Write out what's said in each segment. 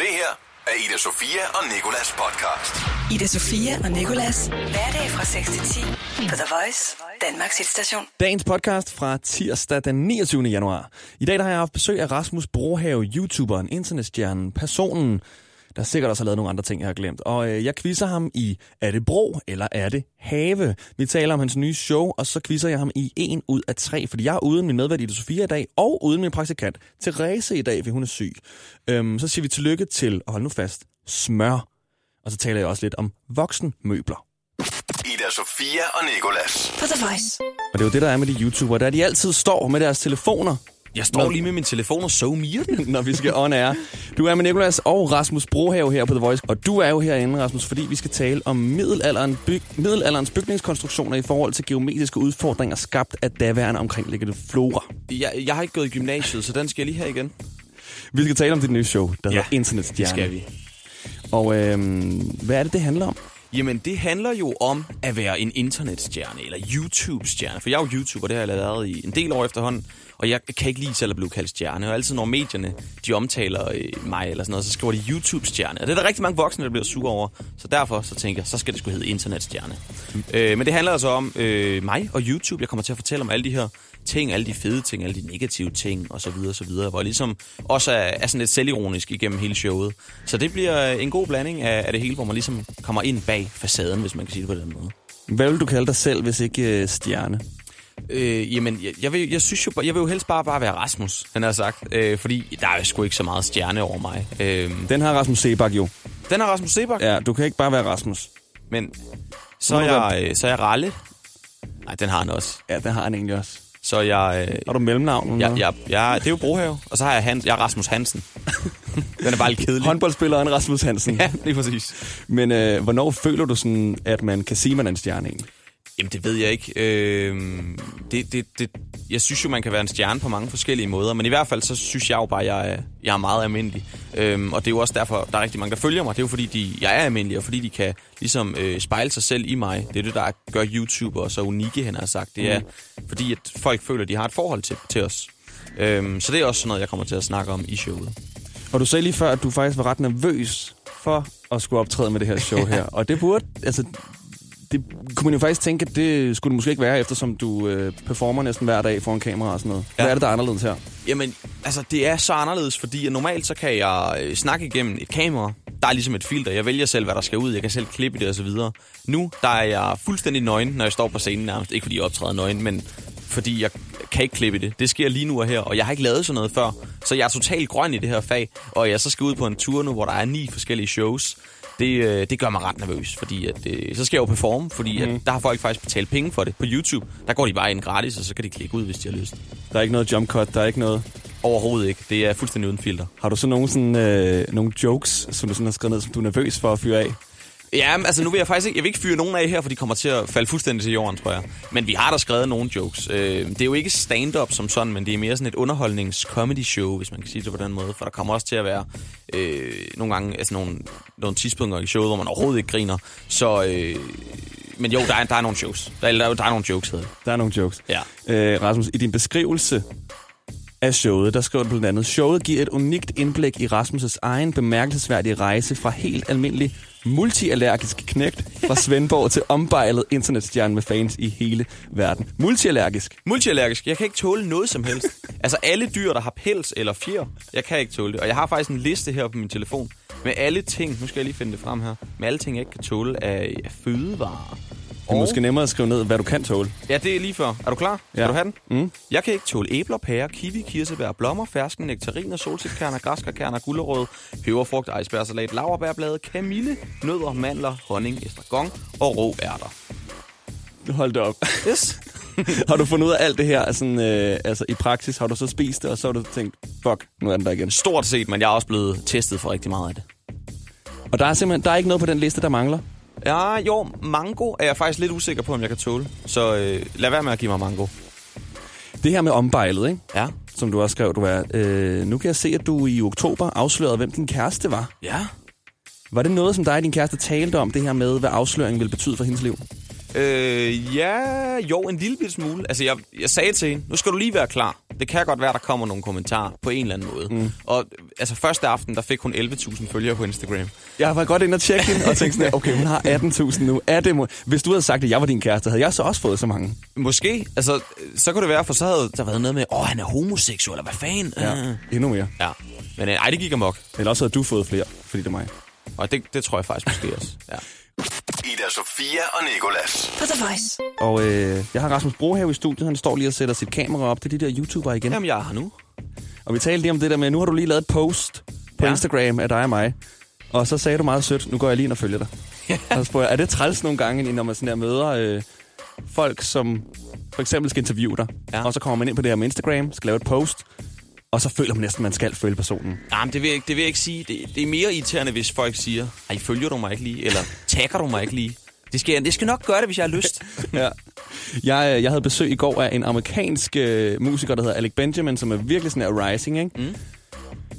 af Ida Sofia og Nikolas podcast. Ida Sofia og Nikolas. Hverdag fra 6 til 10 på The Voice, Danmarks hitstation. Dagens podcast fra tirsdag den 29. januar. I dag der har jeg haft besøg af Rasmus Brohave, YouTuberen, internetstjernen, personen, der sikkert også har lavet nogle andre ting, jeg har glemt. Og øh, jeg quizzer ham i, er det bro eller er det have? Vi taler om hans nye show, og så quizzer jeg ham i en ud af tre, fordi jeg er uden min medvært Ida Sofia i dag, og uden min praktikant Therese i dag, fordi hun er syg. Øhm, så siger vi tillykke til, og hold nu fast, smør. Og så taler jeg også lidt om voksenmøbler. Ida Sofia og Nikolas. På The Voice. Og det er jo det, der er med de YouTubere, der de altid står med deres telefoner, Jeg står lige med min telefon og so me når vi skal on air. Du er med Nikolas og Rasmus Brohave her på The Voice, og du er jo herinde, Rasmus, fordi vi skal tale om middelalderen byg, middelalderens bygningskonstruktioner i forhold til geometriske udfordringer skabt af daværende omkringliggende flora. jeg, jeg har ikke gået i gymnasiet, så den skal jeg lige have igen. Det Vi skal tale om dit nye show, der hedder Internetstjerne. skal vi. Og øhm, hvad er det, det handler om? Jamen, det handler jo om at være en internetstjerne, eller YouTube-stjerne. For jeg er jo YouTuber, det har jeg lavet i en del år efterhånden. Og jeg kan ikke lige selv at blive kaldt stjerne. Og altid når medierne, de omtaler øh, mig eller sådan noget, så skriver de YouTube-stjerne. Og det er der rigtig mange voksne, der bliver sure over. Så derfor så tænker jeg, så skal det skulle hedde internetstjerne. Øh, men det handler altså om øh, mig og YouTube. Jeg kommer til at fortælle om alle de her ting, alle de fede ting, alle de negative ting og så videre og så videre, hvor jeg ligesom også er, er sådan lidt selvironisk igennem hele showet. Så det bliver en god blanding af, af det hele, hvor man ligesom kommer ind bag facaden, hvis man kan sige det på den måde. Hvad vil du kalde dig selv, hvis ikke øh, stjerne? Øh, jamen, jeg, jeg, vil, jeg, synes jo, bare- jeg vil jo helst bare, bare være Rasmus, han har sagt, øh, fordi der er jo sgu ikke så meget stjerne over mig. Øh, Den har Rasmus Sebak jo. den er Rasmus Sebak, ja. Ja, du kan ikke bare være Rasmus. men så Nu er, må du jeg, øh, så er jeg Ralle. Nej, den har han også. Ja, det har han egentlig også. Så er jeg, øh, Har du mellemnavn? eller Ja, noget? ja, ja, det er jo Brohave. Og så har jeg, Hans, jeg er Rasmus Hansen. Den er bare lidt kedelig. Håndboldspilleren Rasmus Hansen. Ja, lige præcis. Men øh, hvornår føler du sådan, at man kan sige, man er en stjerne egentlig? Jamen, det ved jeg ikke. Øh, det, det, det, jeg synes jo, man kan være en stjerne på mange forskellige måder, men i hvert fald, så synes jeg jo bare, at jeg, er- jeg er meget almindelig. Øh, og det er jo også derfor, der er rigtig mange, der følger mig. Det er jo fordi, de, jeg er almindelig, og fordi de kan ligesom øh, spejle sig selv i mig. Det er det, der gør YouTube og så unikke, han har sagt. Det er fordi, at folk føler, at de har et forhold til, til os. Øhm, så det er også sådan noget, jeg kommer til at snakke om i showet. Og du sagde lige før, at du faktisk var ret nervøs for at skulle optræde med det her show her. Og det burde, altså, det kunne man jo faktisk tænke, at det skulle det måske ikke være, eftersom du øh, performer næsten hver dag foran kamera og sådan noget. Ja. Ja. Hvad er det, der er anderledes her? Jamen, altså, det er så anderledes, fordi at normalt så kan jeg øh, snakke igennem et kamera. Der er ligesom et filter. Jeg vælger selv, hvad der skal ud. Jeg kan selv klippe det og så videre. Nu, der er jeg fuldstændig nøgen, når jeg står på scenen nærmest. Ikke fordi jeg optræder nøgen, men fordi jeg kan ikke klippe det. Det sker lige nu og her, og jeg har ikke lavet sådan noget før. Så jeg er totalt grøn i det her fag, og jeg så skal ud på en tur nu, hvor der er ni forskellige shows. Det, øh, det gør mig ret nervøs, fordi at, øh, så skal jeg jo performe, fordi Mhm. mm. at, der har folk faktisk betalt penge for det på YouTube. Der går de bare ind gratis, og så kan de klikke ud, hvis de har lyst. Der er ikke noget jump cut, der er ikke noget... Overhovedet ikke. Det er fuldstændig uden filter. Har du så nogle, sådan, øh, nogle jokes, som du sådan har skrevet ned, som du er nervøs for at fyre af? Ja, men altså nu vil jeg faktisk ikke, jeg vil ikke fyre nogen af her, for de kommer til at falde fuldstændig til jorden, tror jeg. Men vi har da skrevet nogle jokes. Øh, det er jo ikke stand-up som sådan, men det er mere sådan et underholdnings-comedy-show, hvis man kan sige det på den måde. For der kommer også til at være øh, nogle gange altså nogle, nogle tidspunkter i showet, hvor man overhovedet ikke griner. Så, øh, men jo, der er, der er nogle jokes. Der, eller der, er- der er nogle jokes, hedder det. Der er nogle jokes. Ja. Øh, Rasmus, i din beskrivelse af showet, der skriver du blandt andet, showet giver et unikt indblik i Rasmus' egen bemærkelsesværdige rejse fra helt almindelig multiallergisk knægt fra Svendborg til ombejlet internetstjerne med fans i hele verden. Multiallergisk. Multiallergisk. Jeg kan ikke tåle noget som helst. altså alle dyr, der har pels eller fjer, jeg kan ikke tåle det. Og jeg har faktisk en liste her på min telefon med alle ting, nu skal jeg lige finde det frem her, med alle ting, jeg ikke kan tåle af, af fødevarer. Det er måske nemmere at skrive ned, hvad du kan tåle. Ja, det er lige før. Er du klar? Skal Ja. du have den? Mm. Jeg kan ikke tåle æbler, pærer, kiwi, kirsebær, blommer, fersken, nektariner, solsikkerner, græskarkerner, gulerod, peberfrugt, icebergsalat, laverbærblade, kamille, nødder, mandler, honning, estragon og rå ærter. Hold da op. Yes. har du fundet ud af alt det her altså, øh, altså, i praksis? Har du så spist det, og så har du tænkt, fuck, nu er den der igen. Stort set, men jeg er også blevet testet for rigtig meget af det. Og der er simpelthen der er ikke noget på den liste, der mangler. Ja, jo, mango er jeg faktisk lidt usikker på, om jeg kan tåle. Så øh, lad være med at give mig mango. Det her med ombejlet, ikke? Ja. som du også skrev, du er. Øh, nu kan jeg se, at du i oktober afslørede, hvem din kæreste var. Ja. Var det noget, som dig og din kæreste talte om, det her med, hvad afsløringen ville betyde for hendes liv? Øh, ja, jo, en lille bitte smule. Altså, jeg, jeg sagde til hende, nu skal du lige være klar. Det kan godt være, der kommer nogle kommentarer på en eller anden måde. Mm. Og altså, første aften, der fik hun 11.000 følgere på Instagram. Jeg var godt inde og tjekke hende og tænkte sådan, okay, hun har 18.000 nu. Er det må- Hvis du havde sagt, at jeg var din kæreste, havde jeg så også fået så mange. Måske, altså, så kunne det være, for så havde der været noget med, åh, han er homoseksuel, eller hvad fanden? Ja, endnu mere. ja. Men øh, ej, det gik amok. Eller også havde du fået flere, fordi det er mig. Og det, det tror jeg faktisk måske også. Ja. Ida Sofia og Nikolas. På The Voice. Og øh, jeg har Rasmus Brohave i studiet. Han står lige og sætter sit kamera op. Det er de der YouTubere igen. Jamen, jeg er her nu. Og vi talte lige om det der med, nu har du lige lavet et post på ja. Ja. Instagram af dig og mig. Og så sagde du meget sødt, nu går jeg lige ind og følger dig. og så spurgte jeg, er det træls nogle gange, når man sådan her møder øh, folk, som for eksempel skal interviewe dig. Ja. Ja. Og så kommer man ind på det her med Instagram, skal lave et post. Og så føler man næsten, at man skal følge personen. Nej, men det vil jeg ikke, det vil jeg ikke sige. Det, det er mere irriterende, hvis folk siger, ej, følger du mig ikke lige? Eller tagger du mig ikke lige? Det skal, jeg- det skal nok gøre det, hvis jeg har lyst. ja. jeg, øh, jeg havde besøg i går af en amerikansk øh, musiker, der hedder Alec Benjamin, som er virkelig sådan her rising, ikke? Mm.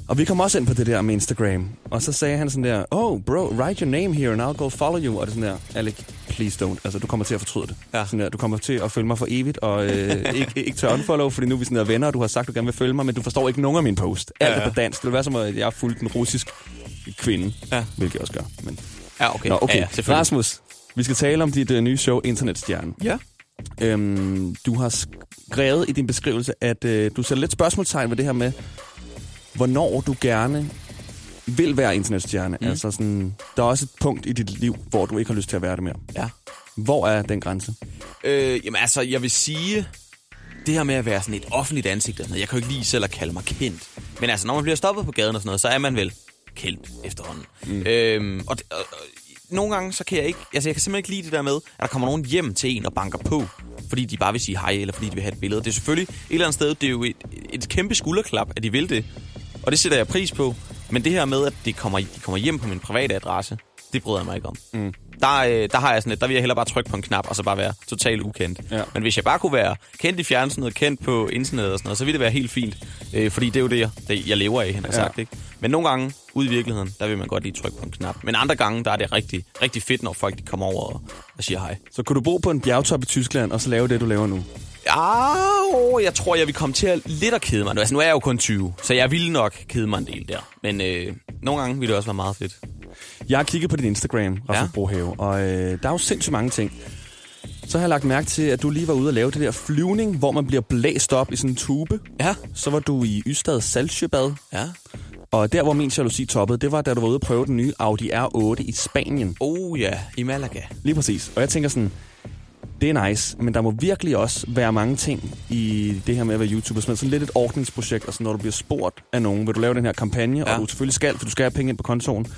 Og vi kom også ind på det der med Instagram. Og så sagde han sådan der, oh bro, write your name here and I'll go follow you. Og det er sådan der, Alec, please don't. Altså, du kommer til at fortryde det. Ja. Sådan der, du kommer til at følge mig for evigt og øh, ikke, ikke tør unfollow, fordi nu er vi sådan der venner, og du har sagt, du gerne vil følge mig, men du forstår ikke nogen af mine post. Alt Ja, er ja. på dansk. Det vil være som, at jeg har fulgt en russisk kvinde, ja. Ja. hvilket jeg også gør. Men... Ja, okay. Nå, okay. Ja, Ja, ja, selvfølgelig. Rasmus, vi skal tale om dit uh, nye show, Internetstjernen. Ja. Øhm, du har skrevet i din beskrivelse, at øh, du sætter lidt spørgsmålstegn ved det her med, hvornår du gerne vil være internetstjerne. Mm. Altså sådan, der er også et punkt i dit liv, hvor du ikke har lyst til at være det mere. Ja. Hvor er den grænse? Øh, jamen altså, jeg vil sige, det her med at være sådan et offentligt ansigt og sådan noget, jeg kan jo ikke lige selv at kalde mig kendt. Men altså, når man bliver stoppet på gaden og sådan noget, så er man vel kendt efterhånden. Mm. Øhm, og, det- og, og nogle gange, så kan jeg ikke, altså jeg kan simpelthen ikke lide det der med, at der kommer nogen hjem til en og banker på, fordi de bare vil sige hej, eller fordi de vil have et billede. Det er selvfølgelig et eller andet sted, det er jo et, et kæmpe skulderklap, at de vil det. Og det sætter jeg pris på. Men det her med, at de kommer, de kommer hjem på min private adresse, det bryder jeg mig ikke om. Mm. Der, øh, der har jeg sådan et, der vil jeg hellere bare trykke på en knap, og så bare være totalt ukendt. Ja. Men hvis jeg bare kunne være kendt i fjernsynet, kendt på internettet og sådan noget, så ville det være helt fint. Øh, fordi det er jo det, jeg, det, jeg lever af, han har Ja. ja. sagt. Ikke? Men nogle gange ude i virkeligheden, der vil man godt lige trykke på en knap. Men andre gange, der er det rigtig, rigtig fedt, når folk de kommer over og, og siger hej. Så kunne du bo på en bjergtop i Tyskland, og så lave det, du laver nu? Au, jeg tror, jeg vil komme til at lidt at kede mig. Nu, altså, nu er jeg jo kun 20, så jeg ville nok kede mig en del der. Men øh, nogle gange ville det også være meget fedt. Jeg har kigget på din Instagram, Rasmus ja. Ja. Brohave, og øh, der er jo sindssygt mange ting. Så har jeg lagt mærke til, at du lige var ude og lave det der flyvning, hvor man bliver blæst op i sådan en tube. Ja. Så var du i Ystad Saltsjøbad. Ja. Og der, hvor min jalousi toppede, det var, da du var ude og prøve den nye Audi R8 i Spanien. Oh ja, i Malaga. Lige præcis. Og jeg tænker sådan, det er nice, men der må virkelig også være mange ting i det her med at være YouTuber, som er sådan lidt et ordningsprojekt, og sådan, når du bliver spurgt af nogen, vil du lave den her kampagne, ja. Ja. og du selvfølgelig skal, for du skal have penge ind på kontoen.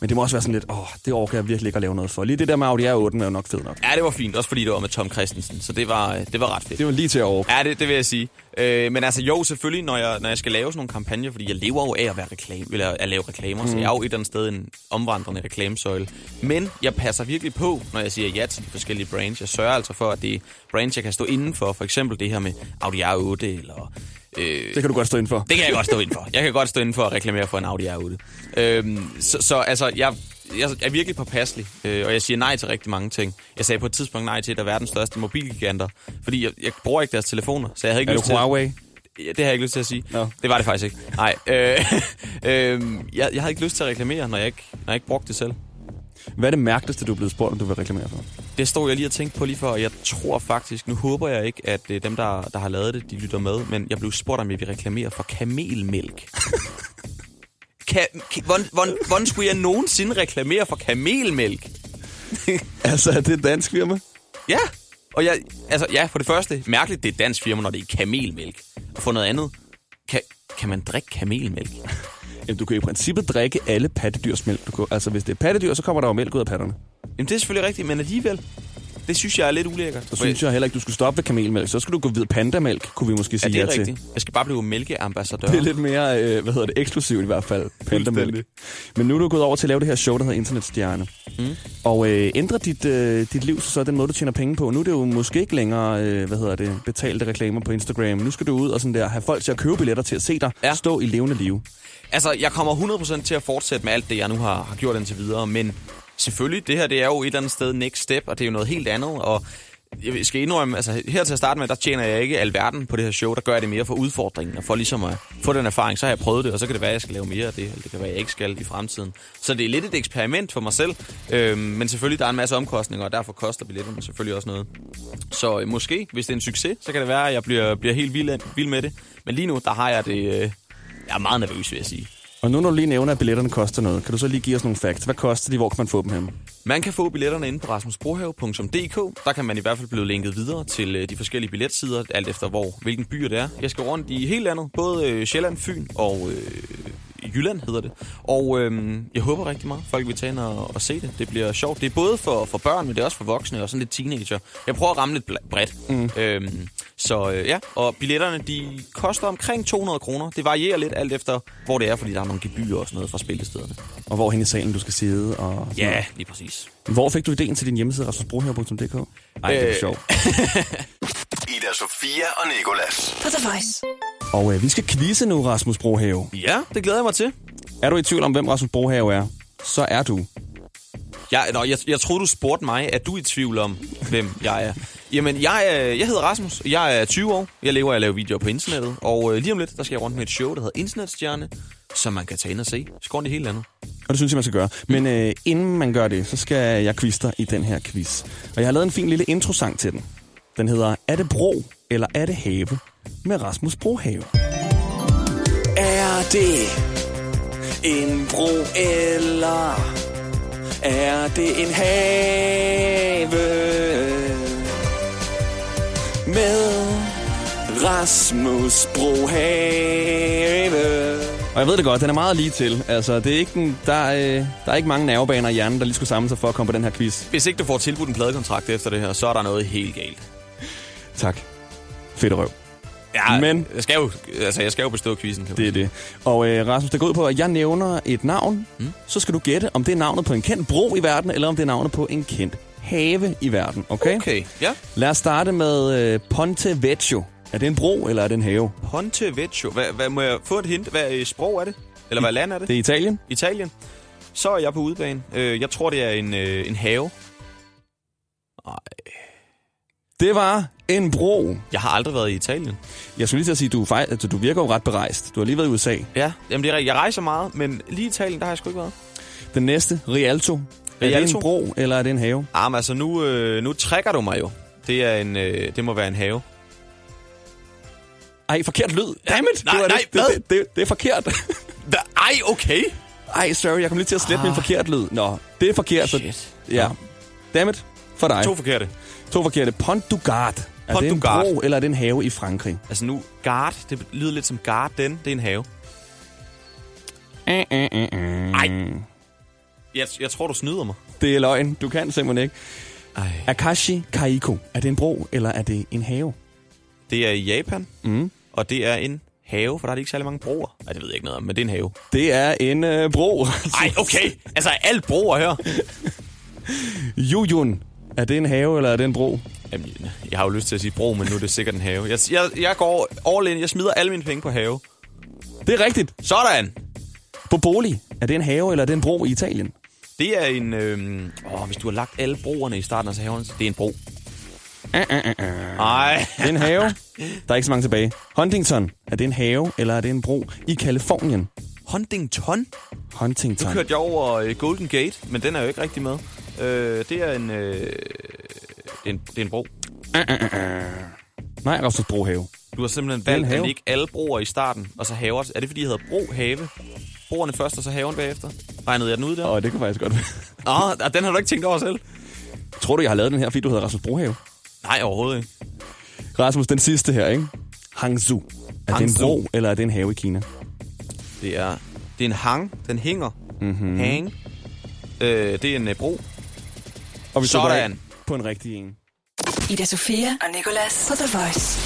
Men det må også være sådan lidt, åh, det orker jeg virkelig ikke at lave noget for. Lige det der med Audi R8 er jo nok fedt nok. Ja, det var fint, også fordi det var med Tom Christensen, så det var, øh, det var ret fedt. Det var lige til at orke. Ja, det, det vil jeg sige. Øh, men altså jo, selvfølgelig, når jeg, når jeg skal lave sådan nogle kampagner, fordi jeg lever jo af at, være reklame, eller at lave reklamer, mm. så jeg er jo et eller andet sted en omvandrende reklamesøjle. Men jeg passer virkelig på, når jeg siger ja til de forskellige brands. Jeg sørger altså for, at det er brands, jeg kan stå inden for. For eksempel det her med Audi R8, eller... Øh, Det kan du godt stå ind for. det kan jeg godt stå indenfor. Jeg kan godt stå indenfor og reklamere for en Audi R8. Øhm, så, så altså, jeg, jeg er virkelig påpasselig, øh, og jeg siger nej til rigtig mange ting. Jeg sagde på et tidspunkt nej til et af verdens største mobilgiganter, fordi jeg, jeg bruger ikke deres telefoner, så jeg havde ikke Er lyst du til... at- Huawei? Ja, det har jeg ikke lyst til at sige. Nå. Det var det faktisk ikke. Nej, øh, øh, jeg, jeg havde ikke lyst til at reklamere, når jeg ikke, når jeg ikke brugte det selv. Hvad er det mærkeligste, du er blevet spurgt, om du vil reklamere for? Det stod jeg lige og tænkte på lige før, og jeg tror faktisk, nu håber jeg ikke, at øh, dem, der, der har lavet det, de lytter med, men jeg blev spurgt, om jeg vil reklamere for kamelmælk. Ka- ka- hvordan, hvordan, hvordan skulle jeg nogensinde reklamere for kamelmælk? Altså, er det et dansk firma? Ja, og jeg, altså, ja, for det første, mærkeligt, det er et dansk firma, når det er kamelmælk. Og for noget andet, kan, kan man drikke kamelmælk? Jamen, du kan i princippet drikke alle pattedyrs mælk. Du kan, altså, hvis det er pattedyr, så kommer der jo mælk ud af patterne. Jamen, det er selvfølgelig rigtigt, men alligevel, det synes jeg er lidt ulækkert. Så synes jeg heller ikke, du skulle stoppe ved kamelmælk. Så skulle du gå ved pandamælk, kunne vi måske Ja, sige det er ja til. rigtigt. Jeg skal bare blive mælkeambassadør. Det er lidt mere, øh, hvad hedder det, eksklusivt i hvert fald, Fuldstændig. pandamælk. Men nu er du gået over til at lave det her show, der hedder Internetstjerne. Mm. Og øh, ændrer dit, øh, dit liv så den måde, du tjener penge på? Nu er det jo måske ikke længere, øh, hvad hedder det, betalte reklamer på Instagram. Nu skal du ud og sådan der, have folk til at købe billetter til at se dig ja. Ja. stå i levende liv. Altså, jeg kommer 100% til at fortsætte med alt det, jeg nu har, har gjort indtil videre, men selvfølgelig, det her det er jo et eller andet sted next step, og det er jo noget helt andet, og jeg skal indrømme, altså her til at starte med, der tjener jeg ikke alverden på det her show, der gør jeg det mere for udfordringen, og for ligesom at få den erfaring, så har jeg prøvet det, og så kan det være, at jeg skal lave mere af det, eller det kan være, at jeg ikke skal i fremtiden. Så det er lidt et eksperiment for mig selv, øhm, men selvfølgelig, der er en masse omkostninger, og derfor koster billetterne selvfølgelig også noget. Så øh, måske, hvis det er en succes, så kan det være, at jeg bliver, bliver helt vild, af- vild med det, men lige nu, der har jeg det, øh, jeg er meget nervøs, vil jeg sige. Og nu når du lige nævner, at billetterne koster noget, kan du så lige give os nogle facts? Hvad koster de? Hvor kan man få dem henne? Man kan få billetterne inde på rasmusbrohave.dk. Der kan man i hvert fald blive linket videre til øh, de forskellige billetsider, alt efter hvor, hvilken by det er. Jeg skal rundt i hele landet, både øh, Sjælland, Fyn og øh, Jylland hedder det. Og øh, jeg håber rigtig meget, folk vil tage ind og, og se det. Det bliver sjovt. Det er både for, for børn, men det er også for voksne og sådan lidt teenager. Jeg prøver at ramme lidt bla- bredt. Mm. Øh, så øh, ja, og billetterne de koster omkring 200 kroner. Det varierer lidt alt efter, hvor det er, fordi der er nogle gebyrer og sådan noget fra spillestederne. Og hvor hen i salen du skal sidde? Og sådan Ja, lige præcis. noget. Hvor fik du ideen til din hjemmeside, rasmusbrohave.dk? Ej, det er Øh. sjovt. Ida Sofia og Nikolas. På The Voice. Og øh, vi skal quizze nu, Rasmus Brohave. Ja, det glæder jeg mig til. Er du i tvivl om, hvem Rasmus Brohave er? Så er du. Jeg, nå, jeg, jeg troede, du spurgte mig, at du er i tvivl om, hvem jeg er. Jamen, jeg, er- jeg hedder Rasmus, jeg er 20 år, jeg lever af at lave videoer på internettet, og øh, lige om lidt, der skal jeg rundt med et show, der hedder Internetstjerne, som man kan tage ind og se. Skåren det hele landet. Og det synes jeg, man skal gøre. Men øh, inden man gør det, så skal jeg quizte dig i den her quiz. Og jeg har lavet en fin lille introsang til den. Den hedder Er det bro eller er det have? Med Rasmus Brohave. Er det en bro eller er det en have? Med Rasmus Brohave. Og jeg ved det godt, den er meget lige til. Altså, det er ikke den, der, øh, der er ikke mange nervebaner i hjernen, der lige skulle samle sig for at komme på den her quiz. Hvis ikke du får tilbudt en pladekontrakt efter det her, så er der noget helt galt. Tak. Fedt røv. Ja, Men- Jeg skal jo, altså, jeg skal jo bestå quizzen. Kan man Det er det. Og øh, Rasmus, det går ud på, at jeg nævner et navn. Mm. Så skal du gætte, om det er navnet på en kendt bro i verden, eller om det er navnet på en kendt have i verden. Okay? sige. Okay, ja. Lad os starte med øh, Ponte Vecchio. Er det en bro, eller er det en have? Ponte Vecchio. Hvad, hvad, må jeg få et hint? Hvad øh, sprog er det? Eller hvad land er det? Det er Italien. Italien. Så er jeg på udebane. Øh, jeg tror, det er en, øh, en have. Det var en bro. Jeg har aldrig været i Italien. Jeg skulle lige til at sige, du, er fej- altså, du virker jo ret berejst. Du har lige været i USA. Ja, jamen det er rigtigt. Jeg rejser meget, men lige i Italien, der har jeg sgu ikke været. Den næste, Rialto. Er det Rialto? en bro, eller er det en have? Ah, men altså nu, øh, nu trækker du mig jo. Det, er en, øh, det må være en have. Ej, forkert lyd. Dammit! nej, det, var nej, det, hvad? det, det, det er forkert. Hva? Ej, okay. Ej, sorry, jeg kom lige til at slette ah. min forkert lyd. Nå, det er forkert. Shit. Så, ja. Dammit, for dig. To To, forkerte. to forkerte. Pont du Gard. Er Pont det en du Gard. bro, eller er det en have i Frankrig? Altså nu, guard, det lyder lidt som garden. Det er en have. Eh, Ej. Jeg, jeg tror, du snyder mig. Det er løgn. Du kan simpelthen ikke. Ej. Akashi Kaiko. Er det en bro, eller er det en have? Det er i Japan, mm. og det er en have, for der er ikke særlig mange broer. Nej, det ved jeg ikke noget om, men det er en have. Det er en øh, bro. Ej, okay. Altså, er alt broer her. Jujun. Er det en have, eller er det en bro? Jamen, jeg har jo lyst til at sige bro, men nu er det sikkert en have. Jeg, jeg, jeg går all in. Jeg smider alle mine penge på have. Det er rigtigt. Sådan! Boboli. Er det en have, eller er det en bro i Italien? Det er en... Øh, åh, hvis du har lagt alle broerne i starten af så haven, så det er en bro. Ah, Nej. Det er en have. Der er ikke så mange tilbage. Huntington. Er det en have, eller er det en bro i Kalifornien? Huntington? Huntington. Kørte jeg over øh, Golden Gate, men den er jo ikke rigtig med. Øh, det er en... Øh, det, er en det er en bro. Nej, Rasmus Brohave. Du har simpelthen er en valgt at have. lægge alle broer i starten, og så haver. Er det fordi, jeg hedder bro have? Broerne først, og så haven bagefter? Regnede jeg den ud der? Åh, oh, det kunne faktisk godt være. Åh, oh, den har du ikke tænkt over selv? Tror du, jeg har lavet den her, fordi du hedder Rasmus Brohave? Nej, overhovedet ikke. Rasmus, den sidste her, ikke? Hangzhou. Er det en Hangzhou. bro, eller er det en have i Kina? Det er, det er en hang. Den hænger. Mm-hmm. Hang. Øh, det er en øh, bro. Og vi Sådan. trykker ind På en rigtig en. Ida Sofia og Nicolas på The Voice.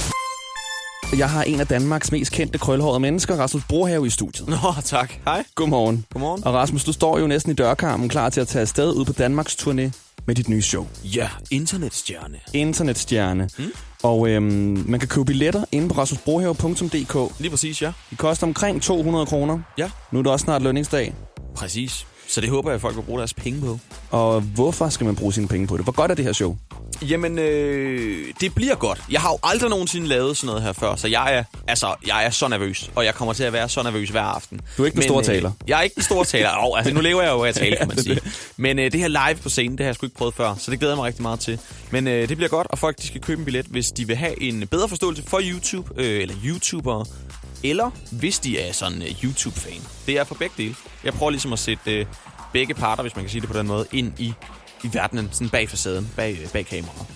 Jeg har en af Danmarks mest kendte krølhårede mennesker, Rasmus Brohave, i studiet. Nå, tak. Hej. Godmorgen. Godmorgen. Og Rasmus, du står jo næsten i dørkarmen, klar til at tage afsted ud på Danmarks turné med dit nye show. Ja, internetstjerne. Internetstjerne. Mm. Og øhm, man kan købe billetter inde på rasmusbrohave.dk. Lige præcis, ja. Det koster omkring 200 kroner. Ja, Nu er det også snart lønningsdag. præcis. Så det håber jeg, at folk vil bruge deres penge på. Og hvorfor skal man bruge sine penge på det? Hvor godt er det her show? Jamen, øh, det bliver godt. Jeg har jo aldrig nogensinde lavet sådan noget her før, så jeg er, altså, jeg er så nervøs, og jeg kommer til at være så nervøs hver aften. Du er ikke den store taler. Øh, jeg er ikke den store taler. Oh, altså, nu lever jeg jo af at tale, kan man sige. Men øh, det her live på scenen, det har jeg sgu ikke prøvet før, så det glæder jeg mig rigtig meget til. Men øh, det bliver godt, og folk de skal købe en billet, hvis de vil have en bedre forståelse for YouTube, øh, eller YouTubere, eller hvis de er sådan øh, YouTube-fan. Det er for begge dele. Jeg prøver ligesom at sætte øh, begge parter, hvis man kan sige det på den måde, ind i i verdenen, sådan bag facaden, bag, øh, bag kameraet.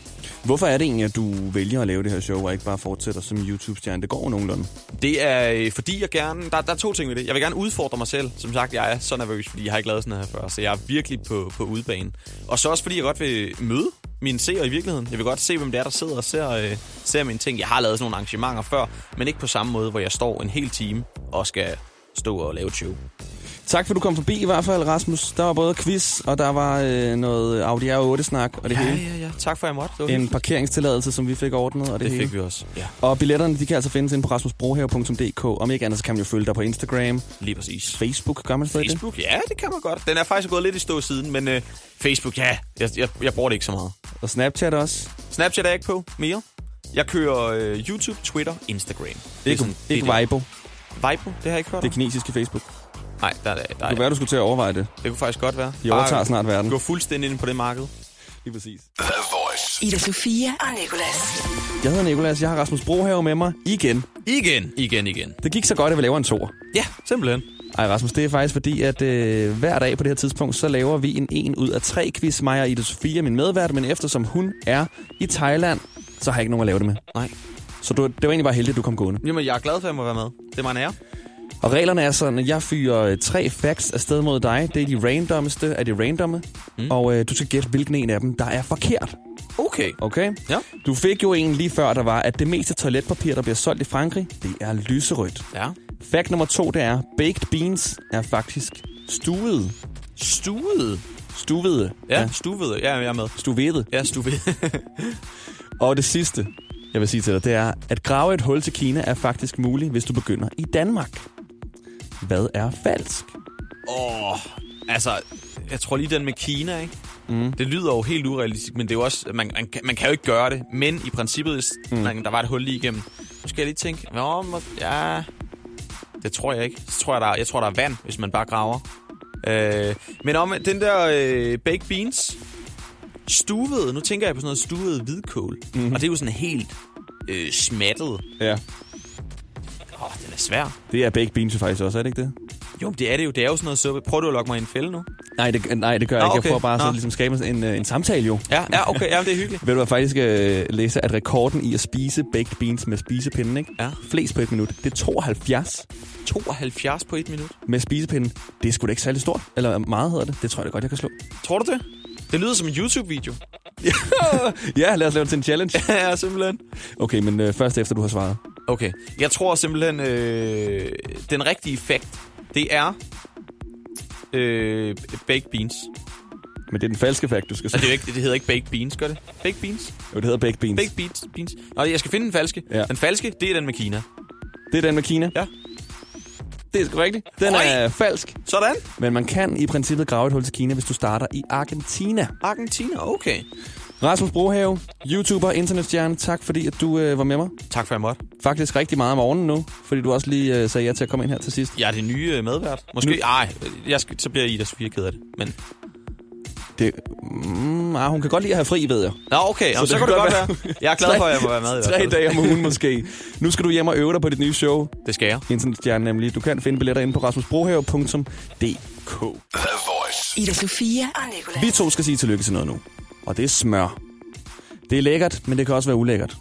Hvorfor er det egentlig, at du vælger at lave det her show, og ikke bare fortsætter som YouTube-stjerne? Det går jo nogenlunde. Det er øh, fordi, jeg gerne... Der, der er to ting ved det. Jeg vil gerne udfordre mig selv. Som sagt, jeg er så nervøs, fordi jeg har ikke lavet sådan noget her før. Så jeg er virkelig på, på udebane. Og så også fordi, jeg godt vil møde mine seere i virkeligheden. Jeg vil godt se, hvem det er, der sidder og ser, øh, ser mine ting. Jeg har lavet sådan nogle arrangementer før, men ikke på samme måde, hvor jeg står en hel time og skal stå og lave et show. Tak for, du kom forbi i hvert fald, Rasmus. Der var både quiz, og der var øh, noget Audi R8-snak og det hele. ja, ja. Tak for, at jeg måtte. Det, var En hyggeligt. parkeringstilladelse, som vi fik ordnet, og det, det hele. fik vi også. Ja, Og billetterne, de kan altså findes inde på rasmusbrohave.dk. Om ikke andet, så kan man jo følge dig på Instagram. lige præcis. Facebook, gør man stadig Facebook, ja, det kan man godt. Den er faktisk gået lidt i stå siden, men øh, Facebook, ja, jeg, jeg, jeg bruger det ikke så meget. det? Og Snapchat også. Snapchat er jeg ikke på mere. Jeg kører øh, YouTube, Twitter, Instagram. Det Ikke, ikke Weibo. Det. Vibe, det har jeg ikke hørt Det om. kinesiske Facebook. Nej, der, der, der, Det kunne være, du skulle til at overveje det. det kunne faktisk godt være. De overtager Bare snart verden. Gå fuldstændig ind på det marked. Lige præcis. The Voice. Ida Sofia og Nicolas. Jeg hedder Nikolas, jeg har Rasmus Brohave med mig igen. Igen, igen, igen. Det gik så godt, at vi laver en toer. Ja, simpelthen. Ej, Rasmus, det er faktisk fordi, at øh, hver dag på det her tidspunkt, så laver vi en en ud af tre quiz. Mig og Ida Sofia, min medvært, men eftersom hun er i Thailand, så har jeg ikke nogen at lave det med. Nej. Så du, det var egentlig bare heldigt, at du kom gående. Jamen, jeg er glad for, at jeg må være med. Det er mig en ære. Og reglerne er sådan, at jeg fyrer øh, tre facts afsted mod dig. Det er de randomste af de randomme. Mm. Og øh, du skal gætte, hvilken en af dem, der er forkert. Okay. Okay? Ja. Du fik jo en lige før, der var, at det meste toiletpapir, der bliver solgt i Frankrig, det er lyserødt. Ja. Fact nummer to, det er, baked beans er faktisk stuede. Stuvet. Stuvede. Ja, ja. stuvet. Ja, jeg er med. Stuvede. Ja, stuvet. Og det sidste, jeg vil sige til dig, det er, at grave et hul til Kina er faktisk muligt, hvis du begynder i Danmark. Hvad er falsk? Åh, oh, altså, jeg tror lige den med Kina, ikke? Mm. Det lyder jo helt urealistisk, men det er jo også, man, man, kan- man kan jo ikke gøre det. Men i princippet, hvis mm. man, der var et hul lige igennem, så skal jeg lige tænke, Nå, må, ja, det tror jeg ikke. Så tror jeg, der, er- jeg tror, der er vand, hvis man bare graver. Øh, men om den der øh, baked beans, stuvet, nu tænker jeg på sådan noget stuvet hvidkål, mm. og det er jo sådan helt øh, smattet. Åh, Ja. oh, den er svær. Det er baked beans jo faktisk også, er det ikke det? Jo, men det er det jo. Det er jo sådan noget suppe. Prøv du at lokke mig i en fælde nu? Nej, det, nej, det gør jeg Nå, ikke. okay. Jeg får bare så Nå. ligesom skabe en, øh, en samtale jo. Ja, ja okay. Ja, det er hyggeligt. Ved du, jeg faktisk øh, læser, at rekorden i at spise baked beans med spisepinden, ikke? Ja. Flest på et minut, det er 72 72 på et minut. med spisepinden. Det er sgu da ikke særlig stort, eller meget hedder det. Det tror jeg da godt, jeg kan slå. Tror du det? Det lyder som en YouTube-video. Ja, lad os lave det til en challenge. ja, simpelthen. Okay, men øh, først efter du har svaret. Okay. Jeg tror simpelthen, øh, den rigtige effekt, det er øh, baked beans. Men det er den falske fakt, du skal Altså, det, er sige. jo ikke, det hedder ikke baked beans, gør det? Baked beans? Jo, det hedder baked beans. Baked beans. beans. Nå, jeg skal finde den falske. Ja. Den falske, det er den med Kina. Det er den med Kina. Ja. Det er sgu rigtigt. Den Oj! er falsk. Sådan. Men man kan i princippet grave et hul til Kina, hvis du starter i Argentina. Argentina, okay. Rasmus Brohave, YouTuber, internetstjerne, tak fordi at du øh, var med mig. Tak for, at jeg måtte. Faktisk rigtig meget om morgenen nu, fordi du også lige øh, sagde ja til at komme ind her til sidst. Jeg er det nye øh, medvært. Måske, Nu- ej, jeg skal, så bliver Ida Sofia ked af det. Men, Det, mm, ah, hun kan godt lide at have fri, ved jeg. nå, okay, så, det så kan kan det godt godt være. Jeg er glad for, at jeg må være med. i hvert Tre fald. dage om ugen måske. Nu skal du hjem og øve dig på dit nye show, Det skal jeg. Internetstjerne nemlig. Du kan finde billetter inde på rasmusbrohave.dk. The Voice. Ida Sofia og Nicolas. Vi to skal sige tillykke til noget nu. Og det er smør. Det er lækkert, men det kan også være ulækkert.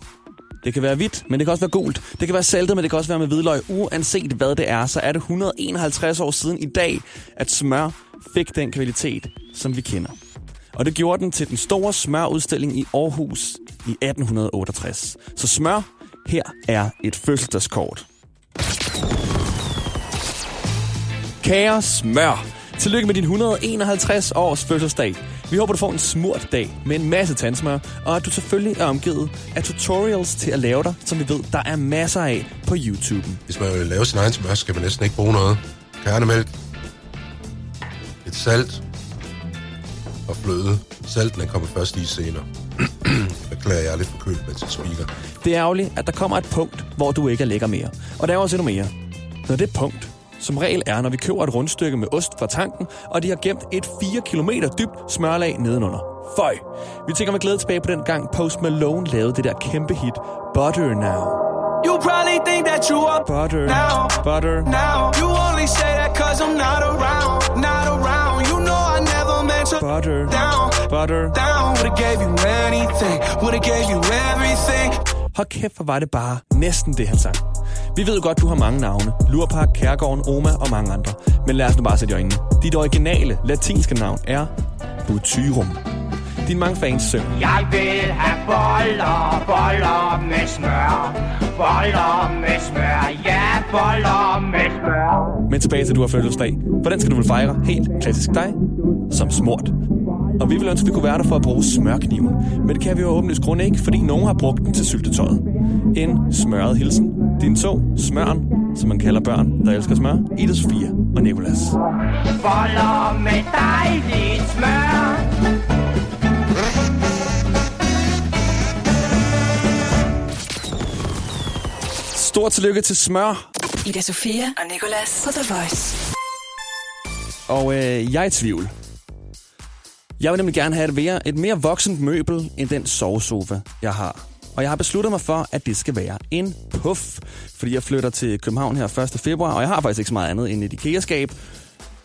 Det kan være hvidt, men det kan også være gult. Det kan være saltet, men det kan også være med hvidløg. Uanset hvad det er, så er det 151 år siden i dag, at smør fik den kvalitet, som vi kender. Og det gjorde den til den store smørudstilling i Aarhus i 1868. Så smør, her er et fødselsdagskort. Kære smør, tillykke med din 151 års fødselsdag. Vi håber, du får en smurt dag med en masse tandsmør, og at du selvfølgelig er omgivet af tutorials til at lave dig, som vi ved, der er masser af på YouTube'en. Hvis man vil lave sin egen smør, skal man næsten ikke bruge noget. Kernemælk. Et salt og fløde. Salten den kommer først lige senere. Beklager, jeg er lidt forkølet med til speaker. Det er ærgerligt, at der kommer et punkt, hvor du ikke er lækker mere. Og der er også endnu mere. Når det punkt, som regel er, når vi køber et rundstykke med ost fra tanken, og de har gemt et 4 km dybt smørlag nedenunder. Føj! Vi tænker med glæde tilbage på den gang Post Malone lavede det der kæmpe hit Butter Now. You probably think that you are Butter. now. Butter. Now you only say that cause I'm not around, not around. You know I never meant to Butter. down, Butter. down. Would've gave you anything, would've gave you everything. Hold kæft, hvor var det bare næsten det, han sang. Vi ved jo godt, du har mange navne. Lurpark, Kærgården, Oma og mange andre. Men lad os nu bare sætte i øjnene. Dit originale latinske navn er Butyrum. Dine mange fans synger. Jeg vil have boller, boller med smør. Boller med smør, ja, boller med smør. Men tilbage til, at du har fødselsdag. Hvordan skal du vel fejre helt klassisk dig? Som smurt. Og vi vil ønske, at vi kunne være der for at bruge smørkniven. Men det kan vi jo åbenlyst grund ikke, fordi nogen har brugt den til syltetøjet. En smørret hilsen. Din så, smøren, som man kalder børn, der elsker smør. Ida Sofia og Nicolas. Boller med dejligt smør. Stort tillykke til smør. Ida Sofia og Nicolas på The Voice. Og øh, jeg er i tvivl. Jeg vil nemlig gerne have et mere, et mere voksent møbel end den sovesofa, jeg har. Og jeg har besluttet mig for, at det skal være en puff. Fordi jeg flytter til København her 1. februar, og jeg har faktisk ikke så meget andet end et IKEA-skab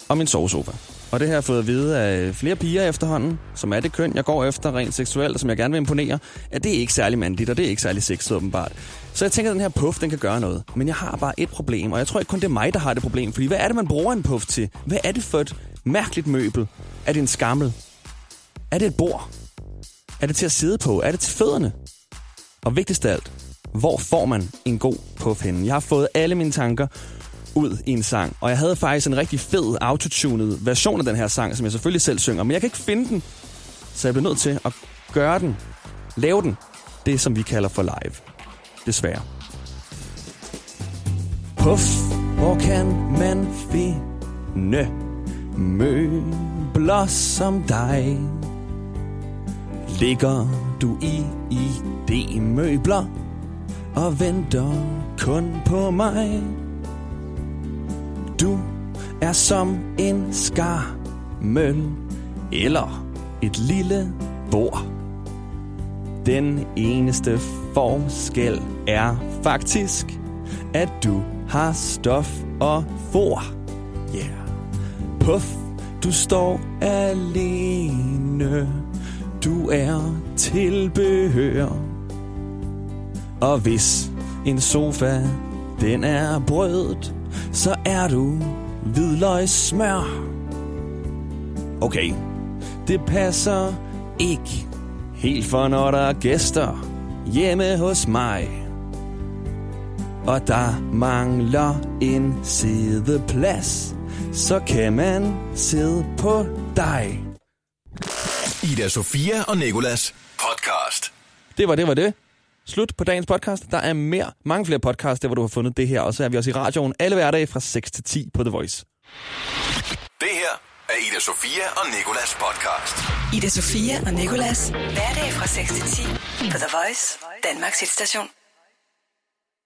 og min sovesofa. Og det har jeg fået at vide af flere piger efterhånden, som er det køn, jeg går efter rent seksuelt, og som jeg gerne vil imponere, at det er ikke særlig mandligt, og det er ikke særlig sexet åbenbart. Så jeg tænker, at den her puff, den kan gøre noget. Men jeg har bare et problem, og jeg tror ikke kun det er mig, der har det problem, fordi hvad er det, man bruger en puff til? Hvad er det for et mærkeligt møbel? Er det en skammel? Er det et bord? Er det til at sidde på? Er det til fødderne? Og vigtigst af alt, hvor får man en god puff henne? Jeg har fået alle mine tanker ud i en sang, og jeg havde faktisk en rigtig fed autotunet version af den her sang, som jeg selvfølgelig selv synger, men jeg kan ikke finde den, så jeg blev nødt til at gøre den, lave den, det som vi kalder for live. Desværre. Puff, hvor kan man finde møbler som dig? Ligger du i ID-møbler og venter kun på mig? Du er som en skarmøl eller et lille bord. Den eneste forskel er faktisk, at du har stof og for. Yeah. Puff, du står alene. Du er tilbehør. Og hvis en sofa, den er brødet, så er du hvidløgssmør. Okay, det passer ikke helt for, når der er gæster hjemme hos mig. Og der mangler en sædeplads, så kan man sidde på dig. Ida Sofia og Nikolas podcast. Det var det, var det. Slut på dagens podcast. Der er mere, mange flere podcasts, der hvor du har fundet det her. Og så er vi også i radioen alle hverdage fra 6 til 10 på The Voice. Det her er Ida Sofia og Nikolas podcast. Ida Sofia og Nicolas. Hverdag fra 6 til 10 på The Voice. Danmarks hitstation.